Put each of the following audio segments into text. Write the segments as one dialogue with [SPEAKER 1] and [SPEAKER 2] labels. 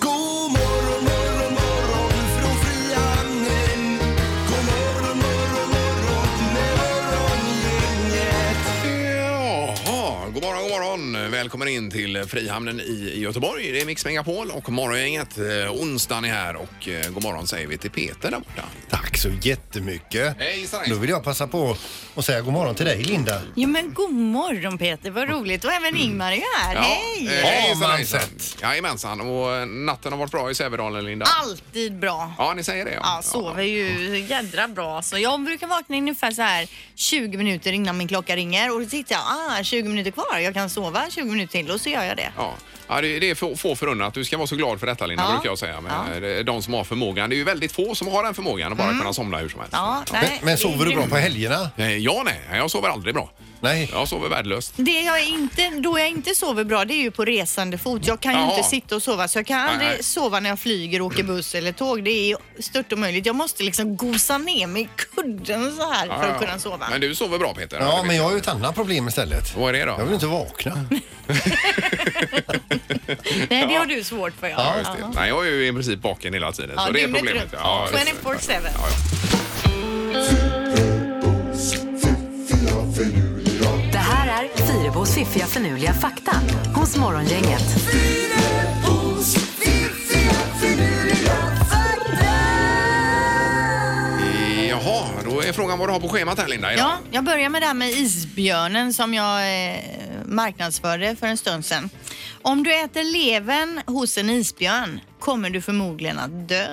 [SPEAKER 1] God morgon morgon morgon från Frihamnen. God morgon morgon morgon morgongänget.
[SPEAKER 2] Jaha, god morgon, god morgon. Välkommen in till Frihamnen i Göteborg. Det är Mix Megapol och Morgongänget. Eh, Onsdagen är här och eh, god morgon säger vi till Peter där borta.
[SPEAKER 3] Tack så jättemycket.
[SPEAKER 2] Hejsan, hejsan.
[SPEAKER 3] Då vill jag passa på att säga god morgon till dig Linda.
[SPEAKER 4] Jo men god morgon Peter, vad roligt. Och även Ingmar är ju här. Hej!
[SPEAKER 2] eh, hejsan,
[SPEAKER 3] man
[SPEAKER 2] hejsan.
[SPEAKER 3] sett.
[SPEAKER 2] Jajamensan, och eh, natten har varit bra i Sävedalen, Linda.
[SPEAKER 4] Alltid bra.
[SPEAKER 2] Ja, ni säger det.
[SPEAKER 4] Ja, sover ju jädra bra. Så jag brukar vakna ungefär så här 20 minuter innan min klocka ringer och då tittar jag, ah 20 minuter kvar, jag kan sova 20 minuter till och så gör jag det.
[SPEAKER 2] Ja. Ja, det det är få, få förunnat. Du ska vara så glad för detta Linda,
[SPEAKER 4] Ja. Mm.
[SPEAKER 2] brukar jag säga. Men eh, De som har förmågan. Det är ju väldigt få som har den förmågan att bara kunna somna hur som helst.
[SPEAKER 4] Ja,
[SPEAKER 3] Men,
[SPEAKER 4] nej,
[SPEAKER 3] men
[SPEAKER 4] det-
[SPEAKER 3] sover du bra på helgerna?
[SPEAKER 2] Eh, Ja, nej, jag sover aldrig bra.
[SPEAKER 3] Nej.
[SPEAKER 2] Jag sover värdelöst.
[SPEAKER 4] Det jag inte, då jag inte sover bra det är ju på resande fot. Jag kan ju
[SPEAKER 2] Jaha.
[SPEAKER 4] inte sitta och sova så jag kan aldrig
[SPEAKER 2] nej.
[SPEAKER 4] sova när jag flyger, åker buss eller tåg. Det är ju stört omöjligt. Jag måste liksom gosa ner mig i kudden så här för
[SPEAKER 2] Ja,
[SPEAKER 4] att
[SPEAKER 2] ja.
[SPEAKER 4] kunna sova.
[SPEAKER 2] Men du sover bra Peter?
[SPEAKER 3] Ja,
[SPEAKER 2] det
[SPEAKER 3] men
[SPEAKER 2] vet
[SPEAKER 3] jag har ju ett annat problem istället.
[SPEAKER 2] Vad är det då?
[SPEAKER 3] Jag vill inte vakna.
[SPEAKER 4] Nej, det har du svårt för.
[SPEAKER 2] Ja, just det. Nej, jag är ju i princip baken hela tiden.
[SPEAKER 4] Ja,
[SPEAKER 2] så det är
[SPEAKER 4] dygnet
[SPEAKER 2] problemet.
[SPEAKER 4] runt.
[SPEAKER 2] Ja, just det.
[SPEAKER 4] 24/7.
[SPEAKER 2] Ja, ja.
[SPEAKER 5] Det här är Fyrabos fiffiga förnuliga fakta hos Morgongänget.
[SPEAKER 1] Fyrabos fiffiga finurliga fakta.
[SPEAKER 2] Jaha, då är frågan vad du har på schemat här Linda idag.
[SPEAKER 4] Ja, jag börjar med det här med isbjörnen som jag eh, marknadsförde för en stund sedan. Om du äter levern hos en isbjörn kommer du förmodligen att dö.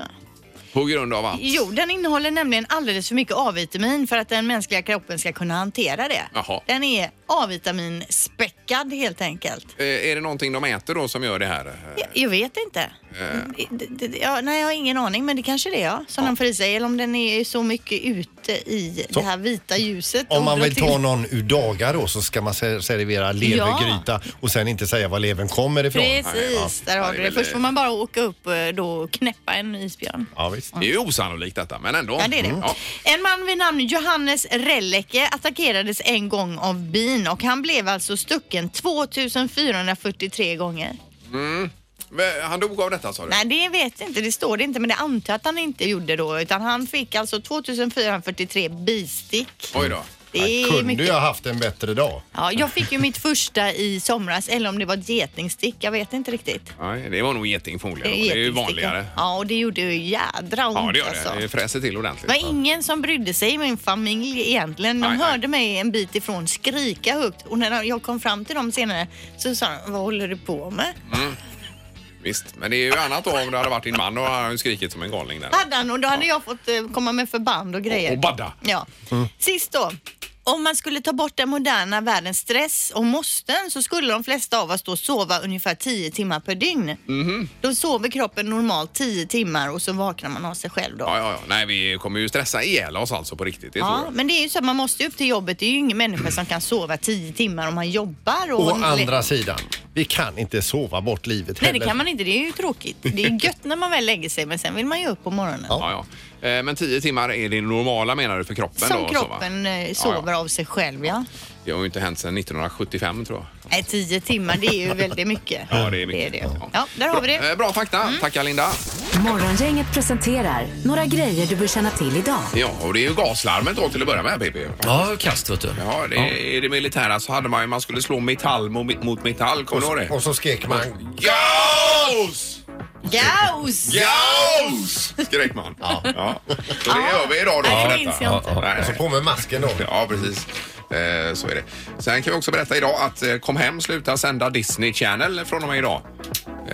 [SPEAKER 2] På grund av att?
[SPEAKER 4] Jo, den innehåller nämligen alldeles för mycket A-vitamin för att den mänskliga kroppen ska kunna hantera det.
[SPEAKER 2] Jaha.
[SPEAKER 4] Den är A-vitaminspäckad helt enkelt.
[SPEAKER 2] Eh, Är det någonting de äter då som gör det här? Eh,
[SPEAKER 4] Jag, jag vet inte. Det- det- det- Ja, nej, jag har ingen aning, men det kanske det är ja, som de får i sig. Eller om den är så mycket ute i
[SPEAKER 3] Så-
[SPEAKER 4] det här vita ljuset. och
[SPEAKER 3] Om man
[SPEAKER 4] drar
[SPEAKER 3] vill
[SPEAKER 4] till-
[SPEAKER 3] ta någon ur dagar då så ska man ser- servera levergryta och sen inte säga var levern kommer ifrån.
[SPEAKER 4] Precis, där
[SPEAKER 2] Ja,
[SPEAKER 4] har
[SPEAKER 2] det
[SPEAKER 4] du
[SPEAKER 2] är
[SPEAKER 4] det.
[SPEAKER 2] väl-
[SPEAKER 4] Först får man bara åka upp eh, då och knäppa en isbjörn.
[SPEAKER 3] Ja, visst.
[SPEAKER 2] Det är ju osannolikt detta, men ändå.
[SPEAKER 4] Ja, det är det.
[SPEAKER 2] Mm. Ja.
[SPEAKER 4] En man vid namn Johannes Rellecke attackerades en gång av bin och han blev alltså stucken 2443 gånger.
[SPEAKER 2] Men Han dog av detta sa du?
[SPEAKER 4] Nej, det vet jag inte. Det står det inte, men det antar jag att han inte gjorde då. Utan han fick alltså 2443 bistick.
[SPEAKER 2] Oj då.
[SPEAKER 4] Det är
[SPEAKER 3] Kunde
[SPEAKER 4] mycket.
[SPEAKER 3] jag haft en bättre dag?
[SPEAKER 4] Ja, jag fick ju mitt första i somras, eller om det var ett getingstick. Jag vet inte riktigt.
[SPEAKER 2] Nej, det var nog geting förmodligen. Det är, ju
[SPEAKER 4] getingstick.
[SPEAKER 2] vanligare.
[SPEAKER 4] Ja, och det gjorde ju jädra ont
[SPEAKER 2] Ja, det gör
[SPEAKER 4] alltså.
[SPEAKER 2] det. Det fräser till ordentligt.
[SPEAKER 4] Det var ingen som brydde sig i min familj egentligen. De
[SPEAKER 2] Nej, nej.
[SPEAKER 4] hörde mig en bit ifrån skrika högt och när jag kom fram till dem senare så sa de, vad håller du på med?
[SPEAKER 2] Visst, men det är ju annat då om det hade varit din man. Då hade han ju skrikit som en galning där.
[SPEAKER 4] Hade han och då hade jag fått eh, komma med förband och grejer.
[SPEAKER 2] Och- Mm. och badda.
[SPEAKER 4] Ja. Sist då. Om man skulle ta bort den moderna världens stress och måsten så skulle de flesta av oss då sova ungefär 10 timmar per dygn.
[SPEAKER 2] Mhm.
[SPEAKER 4] Då sover kroppen normalt 10 timmar och så vaknar man av sig själv då.
[SPEAKER 2] Ja, ja, ja. Nej, vi kommer ju stressa ihjäl oss alltså på riktigt. Det tror
[SPEAKER 4] Ja,
[SPEAKER 2] jag.
[SPEAKER 4] men det är ju så att man måste ju upp till jobbet. Det är ju ingen människa som kan sova 10 timmar om man jobbar.
[SPEAKER 3] Å andra sidan, vi kan inte sova bort livet
[SPEAKER 4] Nej, det
[SPEAKER 3] heller.
[SPEAKER 4] kan man inte. Det är ju tråkigt. Det är gött när man väl lägger sig, men sen vill man ju upp på morgonen.
[SPEAKER 2] Ja, ja. Eh, Men 10 timmar är det normala menar du för kroppen?
[SPEAKER 4] Som
[SPEAKER 2] då, så, va?
[SPEAKER 4] kroppen eh, sover av sig själv, ja.
[SPEAKER 2] Det har ju inte hänt sedan 1975 tror jag.
[SPEAKER 4] Nej, 10 timmar, det är ju väldigt mycket.
[SPEAKER 2] Ja, det är mycket.
[SPEAKER 4] Det är det. Ja, där har vi det. Mm.
[SPEAKER 2] Eh, Bra fakta. Tackar Linda.
[SPEAKER 5] Morgongänget presenterar några grejer du bör känna till idag.
[SPEAKER 2] Ja, och det är ju gaslarmet då till att börja med, PP.
[SPEAKER 6] Ja, kast vet du.
[SPEAKER 2] Ja, det, i det militära så hade man ju, man skulle slå metall mo- mot metall. Kommer du ihåg det?
[SPEAKER 3] Och så skrek man.
[SPEAKER 2] Gaus!
[SPEAKER 4] Gaus!
[SPEAKER 2] Gaus! Skrek man. Ja. Så det gör vi idag då.
[SPEAKER 4] Nej, det
[SPEAKER 2] för
[SPEAKER 4] minns
[SPEAKER 2] detta.
[SPEAKER 4] jag inte.
[SPEAKER 2] Nej,
[SPEAKER 3] Och så
[SPEAKER 2] nej.
[SPEAKER 3] på med masken då.
[SPEAKER 2] Ja, precis. Eh, Så är det. Sen kan vi också berätta idag att eh, Kom Hem slutar sända Disney Channel från och med idag.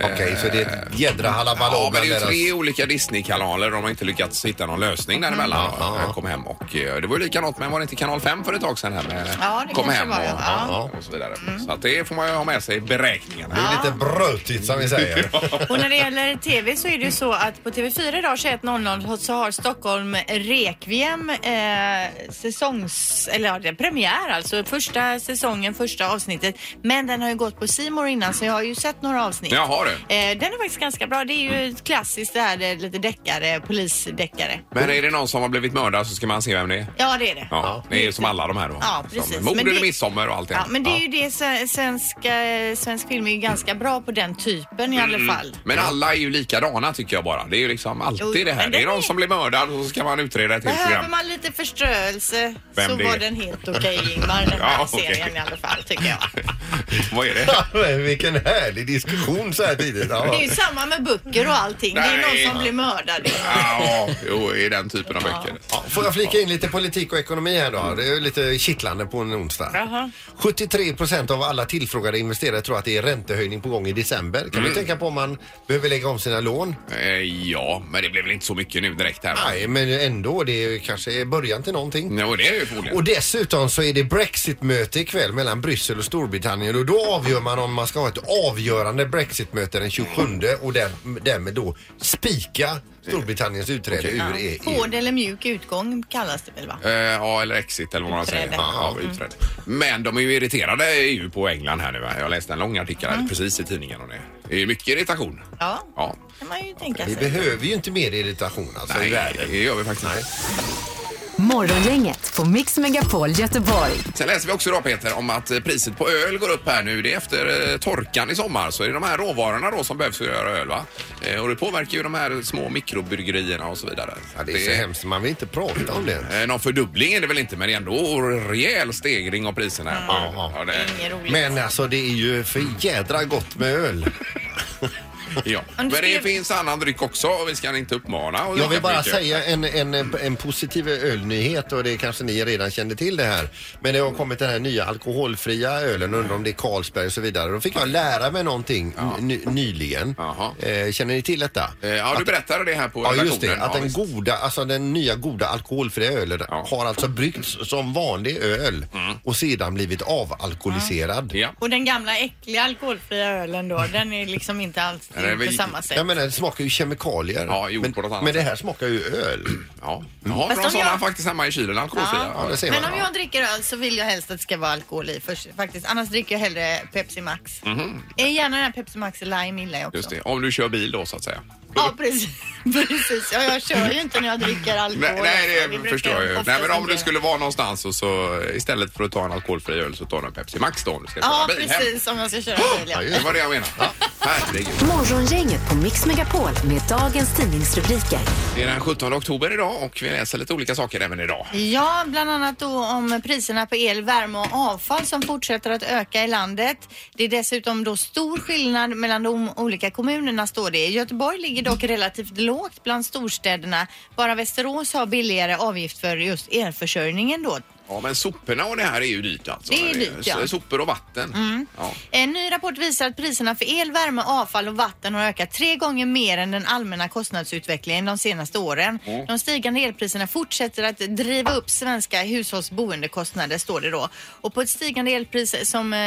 [SPEAKER 3] Okej, så det är ett jädra halabaloo
[SPEAKER 2] Eh, Ja, men det är ju
[SPEAKER 3] bland deras-
[SPEAKER 2] tre olika Disney-kanaler och de har inte lyckats hitta någon lösning däremellan. Mm. Jag kom hem och eh, det var ju likadant men var det inte kanal 5 för ett tag sedan här med
[SPEAKER 4] Ja, det
[SPEAKER 2] kom
[SPEAKER 4] kanske
[SPEAKER 2] hem
[SPEAKER 4] var, ja.
[SPEAKER 2] och,
[SPEAKER 3] Ja.
[SPEAKER 2] och så vidare. Så att det får man ju ha med sig i beräkningen.
[SPEAKER 3] Det är lite brötigt som vi säger.
[SPEAKER 4] Och när det gäller TV så är det ju så att på TV4 idag 21.00 så har Stockholm Requiem eh, säsongs... Eller ja, det är premiär alltså. Första säsongen, första avsnittet. Men den har ju gått på C More innan så jag har ju sett några avsnitt.
[SPEAKER 2] Jag har det.
[SPEAKER 4] Eh, den är faktiskt ganska bra. Det är ju klassiskt det här det är lite deckare, polisdeckare.
[SPEAKER 2] Men är det någon som har blivit mördad så ska man se vem det är.
[SPEAKER 4] Ja, det är det.
[SPEAKER 2] Ja, det är som alla de här då.
[SPEAKER 4] Ja,
[SPEAKER 2] Som
[SPEAKER 4] precis.
[SPEAKER 2] Mord
[SPEAKER 4] Men
[SPEAKER 2] eller
[SPEAKER 4] det-
[SPEAKER 2] midsommar och allt det
[SPEAKER 4] Ja,
[SPEAKER 2] här.
[SPEAKER 4] men det är ju det se- svenska, svensk film är ju ganska bra på den typen i alla fall.
[SPEAKER 2] Men alla är ju likadana tycker jag bara. Det är ju liksom alltid
[SPEAKER 4] Jo,
[SPEAKER 2] det här.
[SPEAKER 4] men
[SPEAKER 2] Det är
[SPEAKER 4] den
[SPEAKER 2] någon
[SPEAKER 4] är-
[SPEAKER 2] som blir mördad och så ska man utreda ett helt
[SPEAKER 4] Behöver
[SPEAKER 2] program.
[SPEAKER 4] man lite förströelse
[SPEAKER 2] Vem
[SPEAKER 4] så
[SPEAKER 2] det är.
[SPEAKER 4] var den helt okej Ingmar, den här
[SPEAKER 2] Ja, okej.
[SPEAKER 4] serien i alla fall tycker jag.
[SPEAKER 2] Vad är det?
[SPEAKER 3] Men Vilken härlig diskussion så här tidigt. Ja.
[SPEAKER 4] Det är ju samma med böcker och allting. Det är
[SPEAKER 2] Nej.
[SPEAKER 4] någon som blir mördad.
[SPEAKER 2] Ja, jo, i den typen av böcker.
[SPEAKER 3] Ja, Får jag flika in lite politik och ekonomi här då? Det är ju lite kittlande på en onsdag.
[SPEAKER 4] Jaha.
[SPEAKER 3] 73 procent av alla tillfrågade investerare tror att det är räntehöjning på gång i december. Kan
[SPEAKER 2] Mm.
[SPEAKER 3] du tänka på om man behöver lägga om sina lån?
[SPEAKER 2] Eh, Ja, men det blev väl inte så mycket nu direkt här? va?
[SPEAKER 3] Nej, men ändå. Det är ju kanske början till någonting.
[SPEAKER 2] Ja, det är det ju förmodligen.
[SPEAKER 3] Och dessutom så är det Brexit-möte ikväll mellan Bryssel och Storbritannien och då avgör man om man ska ha ett avgörande Brexit-möte den 27 och där, därmed då spika Storbritanniens utträde ur E EU.
[SPEAKER 4] Hård eller mjuk utgång kallas det väl va?
[SPEAKER 2] Eh, Ja, eller exit eller vad man säger.
[SPEAKER 4] Utträde.
[SPEAKER 2] Ja, ja, utträde. Men de är ju irriterade EU på England här nu. va? Jag läste en lång artikel här precis i tidningen om det. Det är mycket irritation.
[SPEAKER 4] Mm. Ja,
[SPEAKER 2] Ja.
[SPEAKER 4] kan man ju tänka
[SPEAKER 3] Vi
[SPEAKER 4] sig.
[SPEAKER 3] behöver ju inte mer irritation alltså i
[SPEAKER 2] Nej,
[SPEAKER 3] världen.
[SPEAKER 2] det gör vi faktiskt inte.
[SPEAKER 5] Morgongänget på Mix Megapol Göteborg.
[SPEAKER 2] Sen läser vi också idag Peter om att eh, priset på öl går upp här nu. Det är efter eh, torkan i sommar så är det de här råvarorna då som behövs för att göra öl va? Eh, Och det påverkar ju de här små mikrobryggerierna och så vidare.
[SPEAKER 3] Ja, det är så hemskt, man vill inte prata om det.
[SPEAKER 2] Eh, Någon fördubbling är det väl inte men det är ändå en rejäl stegring av priserna. här.
[SPEAKER 3] Ja, ja.
[SPEAKER 2] det,
[SPEAKER 4] Inget roligt.
[SPEAKER 3] Men alltså det är ju för jädra gott med öl.
[SPEAKER 2] ja. Men
[SPEAKER 4] Om du
[SPEAKER 2] det
[SPEAKER 4] skulle-
[SPEAKER 2] finns annan dryck också och vi ska inte uppmana. och
[SPEAKER 3] Jag vill
[SPEAKER 2] dricka
[SPEAKER 3] bara
[SPEAKER 2] mycket.
[SPEAKER 3] säga en, en, en positiv ölnyhet och det kanske ni redan kände till det här. Men det har kommit den här nya alkoholfria ölen, undrar om det är Carlsberg och så vidare. Då fick jag lära mig någonting ny, nyligen.
[SPEAKER 2] Jaha.
[SPEAKER 3] Eh, känner ni till detta?
[SPEAKER 2] Eh, Ja, du berättade det här på
[SPEAKER 3] Ja just
[SPEAKER 2] redaktionen.
[SPEAKER 3] det, att
[SPEAKER 2] Ja,
[SPEAKER 3] den,
[SPEAKER 2] visst.
[SPEAKER 3] goda, alltså den nya goda alkoholfria ölen
[SPEAKER 2] Ja. Mm.
[SPEAKER 3] har alltså bryggts som vanlig öl och sedan blivit avalkoholiserad.
[SPEAKER 2] Ja.
[SPEAKER 4] Och den gamla äckliga alkoholfria ölen då, den är liksom inte alls
[SPEAKER 2] Nej, det är
[SPEAKER 4] på
[SPEAKER 2] väl-
[SPEAKER 4] samma sätt.
[SPEAKER 3] Jag menar, det smakar ju kemikalier.
[SPEAKER 2] Ja, gjort
[SPEAKER 3] men,
[SPEAKER 2] på något annat
[SPEAKER 3] men det
[SPEAKER 2] sätt.
[SPEAKER 3] här smakar ju öl.
[SPEAKER 2] Ja. Jaha,
[SPEAKER 4] Fast
[SPEAKER 2] för de
[SPEAKER 4] om
[SPEAKER 2] sådana
[SPEAKER 4] jag-
[SPEAKER 2] faktiskt hemma i kylen, alkoholfria.
[SPEAKER 3] Mm. Ja, det ser man.
[SPEAKER 4] Men om jag dricker öl så vill jag helst att det ska vara alkohol i först, faktiskt. Annars dricker jag hellre Pepsi Max. Jag är Gärna den här Pepsi Max Lime gillar jag
[SPEAKER 2] Mhm.
[SPEAKER 4] också.
[SPEAKER 2] Just det, om du kör bil då så att säga.
[SPEAKER 4] Ja, precis. precis. Ja, jag kör ju inte när jag dricker alkohol.
[SPEAKER 2] Nej, nej
[SPEAKER 4] Vi
[SPEAKER 2] det
[SPEAKER 4] brukar
[SPEAKER 2] förstår jag ju.
[SPEAKER 4] oftast
[SPEAKER 2] Nej, men om du
[SPEAKER 4] inte-
[SPEAKER 2] skulle vara någonstans och så eh, istället för att ta en alkoholfri öl så tar du en Pepsi Max då om du ska köra
[SPEAKER 4] Ja,
[SPEAKER 2] bil hem.
[SPEAKER 4] precis. Om jag ska köra bil, ja.
[SPEAKER 2] Det var det jag menade. Herregud.
[SPEAKER 5] Morgongänget på Mix Megapol med dagens tidningsrubriker.
[SPEAKER 2] Det är den 17 oktober idag och vi läser lite olika saker även idag.
[SPEAKER 4] Ja, bland annat då om priserna på el, värme och avfall som fortsätter att öka i landet. Det är dessutom då stor skillnad mellan de olika kommunerna står det. Göteborg ligger dock relativt lågt bland storstäderna. Bara Västerås har billigare avgift för just elförsörjningen då.
[SPEAKER 2] Ja, men soporna och det här är ju dyrt alltså.
[SPEAKER 4] Det är dyrt, ja. Mm.
[SPEAKER 2] S- Sopor och vatten. Ja.
[SPEAKER 4] En Eh, ny rapport visar att priserna för el, värme, avfall och vatten har ökat tre gånger mer än den allmänna kostnadsutvecklingen de senaste åren. De stigande elpriserna fortsätter att driva upp svenska hushålls boendekostnader, står det då. Och på ett stigande elpris som eh,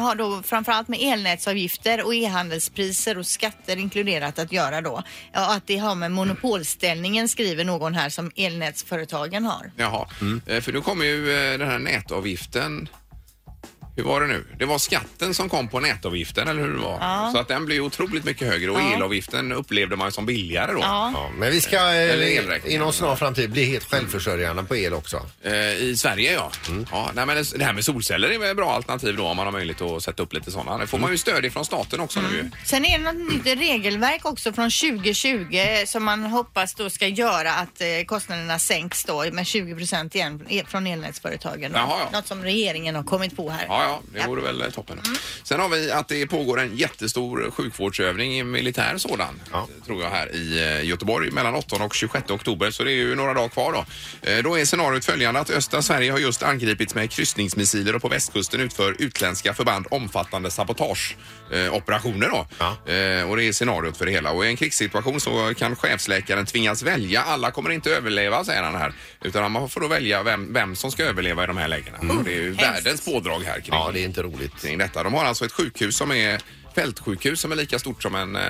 [SPEAKER 4] har då framförallt med elnätsavgifter och e-handelspriser och skatter inkluderat att göra då. Ja, och att det har med monopolställningen, skriver någon här, som elnätsföretagen har.
[SPEAKER 2] Jaha, Eh, för nu kommer ju eh, den här nätavgiften. Hur var det nu? Det var skatten som kom på nätavgiften, eller hur det var? Så att den blev ju otroligt mycket högre och elavgiften upplevde man ju som billigare då.
[SPEAKER 3] Ja, men vi ska
[SPEAKER 2] Eller
[SPEAKER 3] eh,
[SPEAKER 2] elräkningen.
[SPEAKER 3] inom snar framtid bli helt självförsörjande på el också.
[SPEAKER 2] Eh, I Sverige ja. ja nej, men det- det här med solceller är väl ett bra alternativ då om man har möjlighet att sätta upp lite sådana. Det får man ju stöd ifrån staten också nu ju.
[SPEAKER 4] Sen är det något nytt regelverk också från 2020 som man hoppas då ska göra att eh, kostnaderna sänks då med 20 procent igen eh, från elnätsföretagen. då.
[SPEAKER 2] Jaha, ja.
[SPEAKER 4] Något som regeringen har kommit på här.
[SPEAKER 2] Ja, Ja, ja, det vore väl eh, toppen. Sen har vi att det pågår en jättestor sjukvårdsövning, en militär sådan,
[SPEAKER 3] Ja.
[SPEAKER 2] tror jag här i eh, Göteborg mellan 8 och 26 oktober, så det är ju några dagar kvar då. Eh, Då är scenariot följande att östra Sverige har just angripits med kryssningsmissiler och på västkusten utför utländska förband omfattande sabotageoperationer då.
[SPEAKER 3] Ja.
[SPEAKER 2] Eh, Och det är scenariot för det hela. Och i en krigssituation så kan chefsläkaren tvingas välja. Alla kommer inte överleva, säger han här, utan man får då välja vem, vem som ska överleva i de här lägena. Och det är ju världens pådrag här kring
[SPEAKER 3] Ja, det är inte roligt.
[SPEAKER 2] kring detta. De har alltså ett sjukhus som är fältsjukhus som är lika stort som en eh,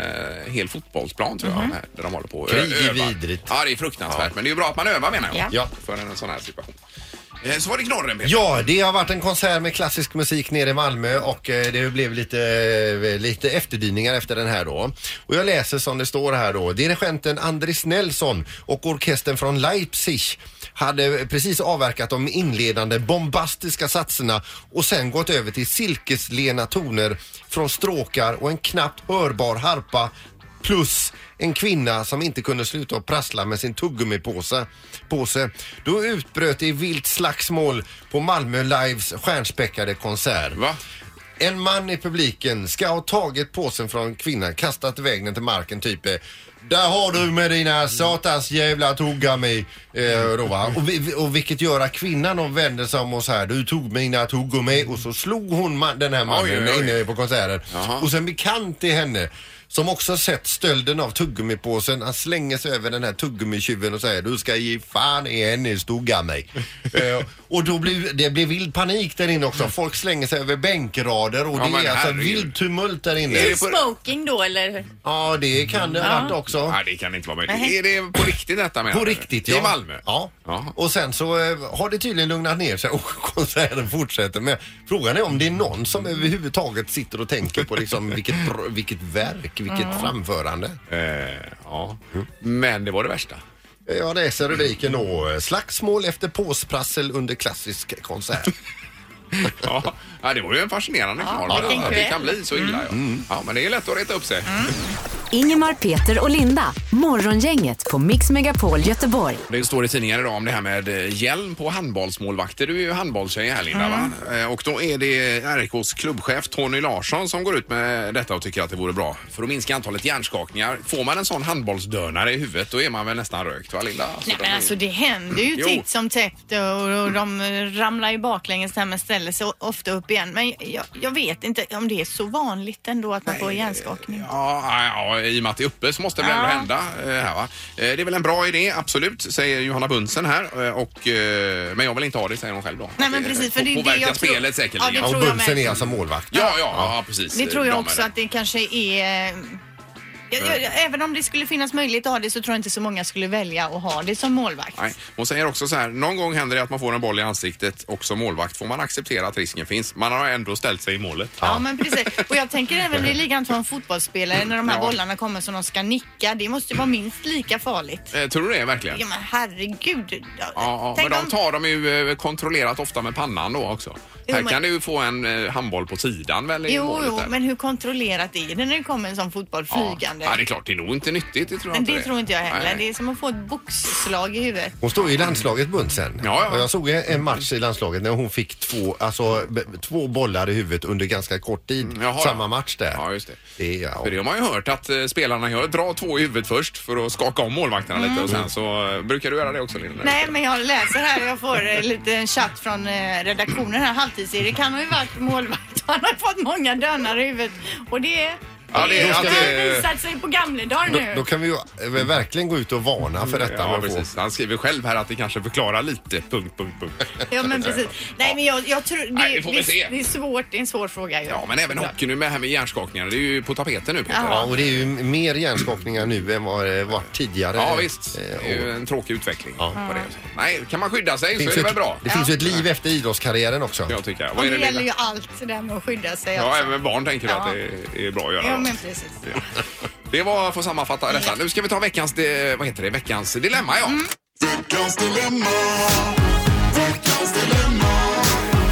[SPEAKER 2] hel fotbollsplan tror jag. Här, där de håller på och ö-
[SPEAKER 3] Mhm. Krig är
[SPEAKER 2] övar.
[SPEAKER 3] vidrigt.
[SPEAKER 2] Ja, det är fruktansvärt. Men det är ju bra att man övar menar jag.
[SPEAKER 3] Ja.
[SPEAKER 2] För en sån här situation. Eh, så var det knorren Peter.
[SPEAKER 3] Ja, det har varit en konsert med klassisk musik nere i Malmö och eh, det blev lite, eh, lite efterdyningar efter den här då. Och jag läser som det står här då. Dirigenten Andris Nelson och orkestern från Leipzig hade precis avverkat de inledande bombastiska satserna och sen gått över till silkeslena toner från stråkar och en knappt hörbar harpa plus en kvinna som inte kunde sluta att prassla med sin tuggummipåse. Påse. Då utbröt det vilt slagsmål på Malmö Lives stjärnspäckade konsert.
[SPEAKER 2] Va?
[SPEAKER 3] En man i publiken ska ha tagit påsen från kvinnan, kastat iväg den till marken typ eh, där har du med dina satans jävla tuggummi. Eh, då, va? och, vi- och vilket gör att kvinnan hon vänder sig om och så här, du tog mina tuggummi och så slog hon man, den här mannen
[SPEAKER 2] Oj, oj, oj.
[SPEAKER 3] inne eh, på konserten.
[SPEAKER 2] Jaha.
[SPEAKER 3] Och sen bekant till henne som också sett stölden av tuggummipåsen. Han slänger sig över den här tuggummikjuven och säger du ska ge fan i hennes tuggammi. uh, och då blir det blir vild panik där inne också. Folk slänger sig över bänkrader och
[SPEAKER 2] Ja, men
[SPEAKER 3] det är alltså
[SPEAKER 2] herregud.
[SPEAKER 3] vild tumult där inne.
[SPEAKER 2] Är det på-
[SPEAKER 4] Smoking då eller?
[SPEAKER 3] Ja, det kan det ha varit också.
[SPEAKER 2] Nej, det kan inte vara möjligt.
[SPEAKER 4] Nej.
[SPEAKER 2] Är det på riktigt detta menar
[SPEAKER 3] På
[SPEAKER 2] du?
[SPEAKER 3] riktigt
[SPEAKER 2] I
[SPEAKER 3] ja.
[SPEAKER 2] Malmö?
[SPEAKER 3] Ja.
[SPEAKER 2] Jaha.
[SPEAKER 3] Och sen så eh, har det tydligen lugnat ner sig och konserten fortsätter. Men frågan är om det är någon som överhuvudtaget sitter och tänker på liksom vilket, br- vilket verk, vilket framförande.
[SPEAKER 2] Eh, ja. Men det var det värsta.
[SPEAKER 3] Jag läser rubriken då. Slagsmål efter påsprassel under klassisk konsert.
[SPEAKER 2] Ja, ja det var ju en fascinerande knorr.
[SPEAKER 4] vilken
[SPEAKER 2] Att det
[SPEAKER 4] kväll.
[SPEAKER 2] kan bli så illa ja.
[SPEAKER 3] Mm.
[SPEAKER 2] ja. Men det är lätt att reta upp sig.
[SPEAKER 5] Ingemar, Peter och Linda. Morgongänget på Mix Megapol Göteborg.
[SPEAKER 2] Det står i tidningar idag om det här med eh, hjälm på handbollsmålvakter. Du är ju handbollstjej här Linda va? Eh, Och då är det RKs klubbchef Tony Larsson som går ut med detta och tycker att det vore bra. För att minska antalet hjärnskakningar. Får man en sån handbollsdönare i huvudet då är man väl nästan rökt va Linda? Alltså,
[SPEAKER 4] Nej
[SPEAKER 2] de
[SPEAKER 4] men
[SPEAKER 2] är-
[SPEAKER 4] alltså det händer ju
[SPEAKER 2] Jo.
[SPEAKER 4] titt som tätt och, och de eh, ramlar ju baklänges där men ställer sig ofta upp igen. Men jag, jag vet inte om det är så vanligt ändå att man får hjärnskakning.
[SPEAKER 2] Ja, ja, ja, i och med att det är uppe så måste det väl ändå
[SPEAKER 4] Ja.
[SPEAKER 2] hända. eh, Här, va? Eh, Det är väl en bra idé, absolut, säger Johanna Bunsen här. eh, Och, eh, men jag vill inte ha det, säger hon själv då.
[SPEAKER 4] Nej, men
[SPEAKER 2] Att
[SPEAKER 4] precis, för det är det
[SPEAKER 2] påverkar
[SPEAKER 4] jag tror-
[SPEAKER 2] spelet säkerligen. Ja,
[SPEAKER 4] Ja, det
[SPEAKER 3] Och
[SPEAKER 4] tror jag
[SPEAKER 3] Bunsen
[SPEAKER 4] med.
[SPEAKER 3] är alltså målvakt.
[SPEAKER 2] ja, ja, precis.
[SPEAKER 4] Det tror
[SPEAKER 2] De
[SPEAKER 4] jag
[SPEAKER 2] är
[SPEAKER 4] också
[SPEAKER 2] det.
[SPEAKER 4] att det kanske är... eh, Jag, jag, jag, även om det skulle finnas möjlighet att ha det så tror jag inte så många skulle välja att ha det som målvakt.
[SPEAKER 2] Nej. Hon säger också så här, någon gång händer det att man får en boll i ansiktet och som målvakt får man acceptera att risken finns. Man har ändå ställt sig i målet.
[SPEAKER 4] Ja, men precis. Och jag tänker även det är likadant för en fotbollsspelare när de här
[SPEAKER 2] Ja.
[SPEAKER 4] bollarna kommer som de ska nicka. Det måste ju vara minst lika farligt.
[SPEAKER 2] Eh, tror du det verkligen?
[SPEAKER 4] Ja, men herregud. Ja,
[SPEAKER 2] Ja, ja,
[SPEAKER 4] tänk
[SPEAKER 2] men de
[SPEAKER 4] om-
[SPEAKER 2] tar de ju eh, kontrollerat ofta med pannan då också.
[SPEAKER 4] Jo,
[SPEAKER 2] Här
[SPEAKER 4] men-
[SPEAKER 2] kan du ju få en eh, handboll på sidan väl i
[SPEAKER 4] Jo,
[SPEAKER 2] målet
[SPEAKER 4] jo,
[SPEAKER 2] där.
[SPEAKER 4] men hur kontrollerat är det när det kommer en sån fotboll
[SPEAKER 2] Ja.
[SPEAKER 4] flygande?
[SPEAKER 2] Ja, det är klart, det är nog inte nyttigt. Det tror jag
[SPEAKER 4] men det
[SPEAKER 2] är.
[SPEAKER 4] tror inte jag heller.
[SPEAKER 2] Nej.
[SPEAKER 4] Det är som att få ett boxslag i huvudet.
[SPEAKER 3] Hon står ju i landslaget Bunsen.
[SPEAKER 2] Ja, ja.
[SPEAKER 3] Och Jag såg en match i landslaget när hon fick två, alltså, b- två bollar i huvudet under ganska kort tid.
[SPEAKER 2] Mm, Jaha,
[SPEAKER 3] Samma
[SPEAKER 2] ja.
[SPEAKER 3] match där.
[SPEAKER 2] Ja, just det.
[SPEAKER 3] Det är, ja.
[SPEAKER 2] För det har man ju hört att eh, spelarna gör. Dra två i huvudet först för att skaka om målvakterna lite och sen så eh, brukar du göra det också Linda.
[SPEAKER 4] Mm. Nej, men jag läser här. Jag får eh, lite en chatt från eh, redaktionen här. Halvtids-Erik, han har ju varit målvakt. Han har fått många dönnar i huvudet. Och det,
[SPEAKER 2] Ja, det är-
[SPEAKER 3] ja,
[SPEAKER 4] har
[SPEAKER 3] det
[SPEAKER 2] är-
[SPEAKER 4] visat sig på gamledagar
[SPEAKER 3] Då,
[SPEAKER 4] nu.
[SPEAKER 3] då kan vi ju eh, verkligen gå ut och varna för detta.
[SPEAKER 2] Ja,
[SPEAKER 3] med att få-
[SPEAKER 2] precis. Han skriver själv här att det kanske förklarar lite. Punkt, punkt, punkt.
[SPEAKER 4] Ja, men precis. Nej, men jag, jag tror... Det,
[SPEAKER 2] Nej, vi får väl se.
[SPEAKER 4] det, det är svårt. Det är en svår fråga. ju.
[SPEAKER 2] Ja, men även hockey nu med det här med hjärnskakningar. Det är ju på tapeten nu Peter.
[SPEAKER 3] Ja, och det är ju mer hjärnskakningar nu än vad det varit tidigare.
[SPEAKER 2] Ja, visst.
[SPEAKER 3] Eh,
[SPEAKER 2] Det
[SPEAKER 3] och-
[SPEAKER 2] är ju en tråkig utveckling.
[SPEAKER 3] Ja.
[SPEAKER 2] På det. Nej, kan man skydda sig så är
[SPEAKER 3] ju
[SPEAKER 2] det
[SPEAKER 3] ett,
[SPEAKER 2] väl bra.
[SPEAKER 3] det finns ju ett liv efter idrottskarriären också.
[SPEAKER 2] Jag tycker jag.
[SPEAKER 4] Och
[SPEAKER 2] Vad är
[SPEAKER 4] det
[SPEAKER 2] det
[SPEAKER 4] gäller ju
[SPEAKER 2] Linda?
[SPEAKER 4] allt det där med att skydda sig.
[SPEAKER 2] Ja,
[SPEAKER 4] också.
[SPEAKER 2] även med barn tänker du
[SPEAKER 4] Ja.
[SPEAKER 2] att det är bra att göra.
[SPEAKER 4] ja
[SPEAKER 2] då.
[SPEAKER 4] men precis.
[SPEAKER 2] Ja. Det var för att sammanfatta detta. Nu ska vi ta veckans, eh, vad heter det, veckans dilemma ja.
[SPEAKER 4] Mm.
[SPEAKER 1] Veckans dilemma. Veckans dilemma.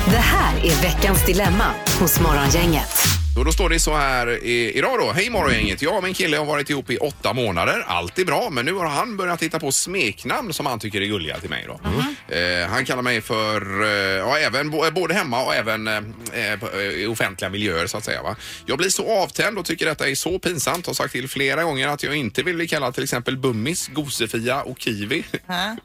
[SPEAKER 5] Det här är veckans dilemma hos Morgongänget.
[SPEAKER 2] Så då står det så här i, idag då. Hej morgongänget. Jag och min kille har varit ihop i åtta månader. Allt är bra, men nu har han börjat hitta på smeknamn som han tycker är gulliga till mig då. Eh, han kallar mig för, eh, ja även, bo- eh, både hemma och även eh, eh, på- eh, i offentliga miljöer så att säga. Va? Jag blir så avtänd och tycker detta är så pinsamt. Har sagt till flera gånger att jag inte vill bli kallad till exempel Bummis, Gosefia och Kiwi.
[SPEAKER 4] Ja.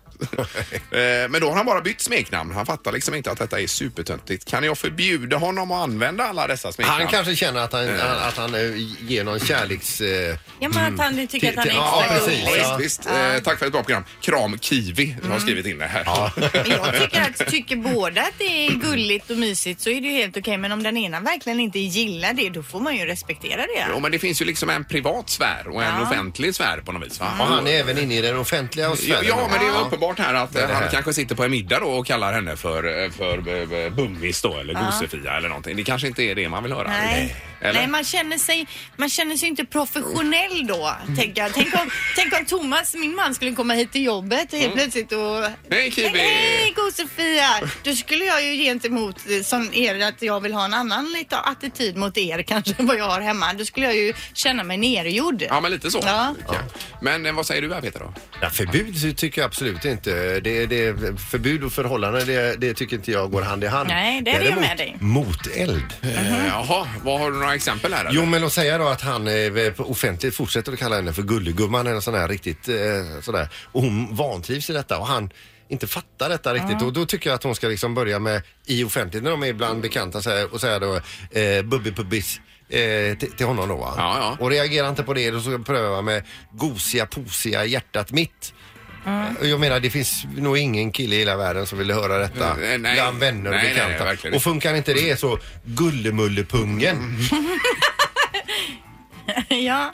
[SPEAKER 2] Eh, Men då har han bara bytt smeknamn. Han fattar liksom inte att detta är supertöntigt. Kan jag förbjuda honom att använda alla dessa smeknamn?
[SPEAKER 3] Han kanske känner att han, han- att han eh, ger någon kärleks... eh,
[SPEAKER 6] Ja, men att han tycker att han är
[SPEAKER 3] Ja,
[SPEAKER 6] extra
[SPEAKER 3] Mm. precis.
[SPEAKER 6] gullig.
[SPEAKER 2] Mm. Ja, visst, visst. Eh, tack för ett bra program. Kram Kiwi har skrivit in det här.
[SPEAKER 4] Men jag tycker att tycker båda att det är gulligt och mysigt så är det ju helt okej. Men om den ena verkligen inte gillar det då får man ju respektera det.
[SPEAKER 2] Jo, men det finns ju liksom en privat sfär och en
[SPEAKER 4] Ja.
[SPEAKER 2] offentlig sfär på något vis. Va?
[SPEAKER 3] Och han är även inne i den offentliga
[SPEAKER 2] Ja,
[SPEAKER 3] sfären.
[SPEAKER 2] ja, men det är ju uppenbart här att eh,
[SPEAKER 3] det
[SPEAKER 2] han
[SPEAKER 3] här.
[SPEAKER 2] kanske sitter på en middag då och kallar henne för, eh, för eh, Bummis då eller Gosefia eller någonting. Det kanske inte är det man vill höra.
[SPEAKER 4] Nej.
[SPEAKER 2] Eller?
[SPEAKER 4] Nej, man känner, sig, man känner sig inte professionell då. Tänk, jag. tänk, om, tänk om Thomas, min man, skulle komma hit till jobbet helt plötsligt och...
[SPEAKER 2] Mm. Hej, Kiwi!
[SPEAKER 4] Hej Go-Sofia! Då skulle jag ju gentemot eh, som er att jag vill ha en annan lite attityd mot er kanske än vad jag har hemma. Då skulle jag ju känna mig nergjord.
[SPEAKER 2] Ja, men lite så.
[SPEAKER 4] Ja.
[SPEAKER 2] tycker jag. Men eh, vad säger du här Peter då?
[SPEAKER 3] Ja, förbud så tycker jag absolut inte. Det, det, förbud och förhållanden, det, det tycker inte jag går hand i hand.
[SPEAKER 6] Nej, det är det jag med dig.
[SPEAKER 3] moteld.
[SPEAKER 2] Eh, Jaha, vad har du några exempel här? eller?
[SPEAKER 3] Jo, men att säga då att han eh, på- offentligt fortsätter att kalla henne för gullegumman eller sån här riktigt eh, sådär. Och hon vantrivs i detta och han inte fattar detta riktigt. Och då tycker jag att hon ska liksom börja med i offentligt när de är bland bekanta så här, och säga då eh, Bubbi Pubbis. Eh, till, till honom då va?
[SPEAKER 2] Ja, ja.
[SPEAKER 3] Och reagerar inte på det då ska jag pröva med gosiga posiga hjärtat mitt. Eh, Jag menar det finns nog ingen kille i hela världen som vill höra detta
[SPEAKER 2] Eh, nej.
[SPEAKER 3] bland vänner och
[SPEAKER 2] Nej, nej, nej,
[SPEAKER 3] bekanta.
[SPEAKER 2] verkligen
[SPEAKER 3] och funkar inte det så gullemullepungen.
[SPEAKER 4] ja.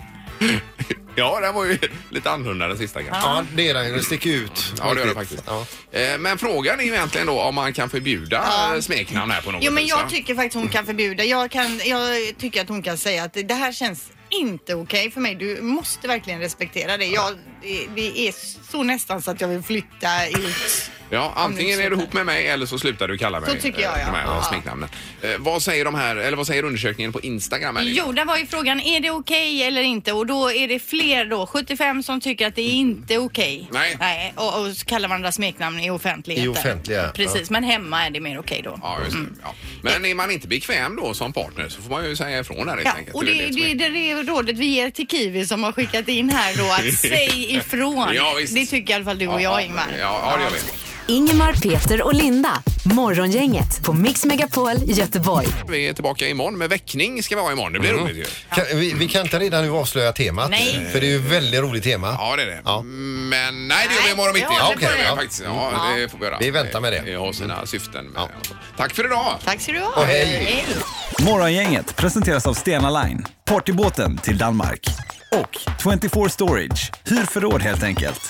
[SPEAKER 2] Ja, den var ju lite annorlunda den sista kanske.
[SPEAKER 3] Ja, det är den. Det sticker ut.
[SPEAKER 2] Ja, det gör det faktiskt.
[SPEAKER 3] Ja.
[SPEAKER 2] Eh, Men frågan är ju egentligen då om man kan förbjuda eh, smeknamn här på något
[SPEAKER 4] Jo men
[SPEAKER 2] vis, va?
[SPEAKER 4] jag tycker faktiskt hon kan förbjuda. Jag, kan, jag tycker att hon kan säga att det här känns inte okej för mig. Du måste verkligen respektera det. Jag, det, det är så nästan så att jag vill flytta ut.
[SPEAKER 2] Ja, antingen
[SPEAKER 4] nu
[SPEAKER 2] är du
[SPEAKER 4] slutar.
[SPEAKER 2] ihop med mig eller så slutar du kalla mig
[SPEAKER 4] Så tycker jag,
[SPEAKER 2] eh,
[SPEAKER 4] ja.
[SPEAKER 2] de här
[SPEAKER 4] Ja.
[SPEAKER 2] smeknamnen. Eh, Vad säger de här, eller vad säger undersökningen på Instagram? Här,
[SPEAKER 6] Jo, där var ju frågan, är det okej eller inte? Och då är det fler då, 75 som tycker att det är inte okej.
[SPEAKER 2] Nej.
[SPEAKER 6] och, och så kallar varandra smeknamn i offentligheten.
[SPEAKER 3] I offentliga,
[SPEAKER 6] Precis, men hemma är det mer okej då.
[SPEAKER 2] Ja, just det. Ja. Men är man inte bekväm då som partner så får man ju säga ifrån där helt
[SPEAKER 4] Ja,
[SPEAKER 2] enkelt.
[SPEAKER 4] och
[SPEAKER 2] är
[SPEAKER 4] det,
[SPEAKER 2] ju som
[SPEAKER 4] det,
[SPEAKER 2] är-
[SPEAKER 4] det är rådet vi ger till Kiwi som har skickat in här då att säg ifrån.
[SPEAKER 2] Ja, visst.
[SPEAKER 4] Det tycker i alla fall du och jag Ingmar.
[SPEAKER 2] Ja, ja, det gör vi.
[SPEAKER 5] Ingemar, Peter och Linda. Morgongänget på Mix Megapol Göteborg.
[SPEAKER 2] Vi är tillbaka imorgon med väckning ska vi ha imorgon. Det blir roligt ju.
[SPEAKER 3] Kan, vi, vi kan inte redan nu avslöja temat.
[SPEAKER 6] Nej.
[SPEAKER 3] För det är ju ett väldigt roligt tema.
[SPEAKER 2] Ja, det är det.
[SPEAKER 3] Ja.
[SPEAKER 2] Men nej, det gör vi imorgon
[SPEAKER 4] Nej,
[SPEAKER 2] mitt i.
[SPEAKER 4] vi håller
[SPEAKER 2] okej,
[SPEAKER 3] på det.
[SPEAKER 2] ja, faktiskt. Ja, det får vi göra.
[SPEAKER 3] Vi väntar med det.
[SPEAKER 2] Det har sina syften. Med
[SPEAKER 3] Ja.
[SPEAKER 2] det och så. Tack för idag!
[SPEAKER 4] Tack ska du ha.
[SPEAKER 3] Och hej.
[SPEAKER 7] Morgongänget presenteras av Stena Line, partybåten till Danmark. Och 24 Storage, hyr förråd helt enkelt.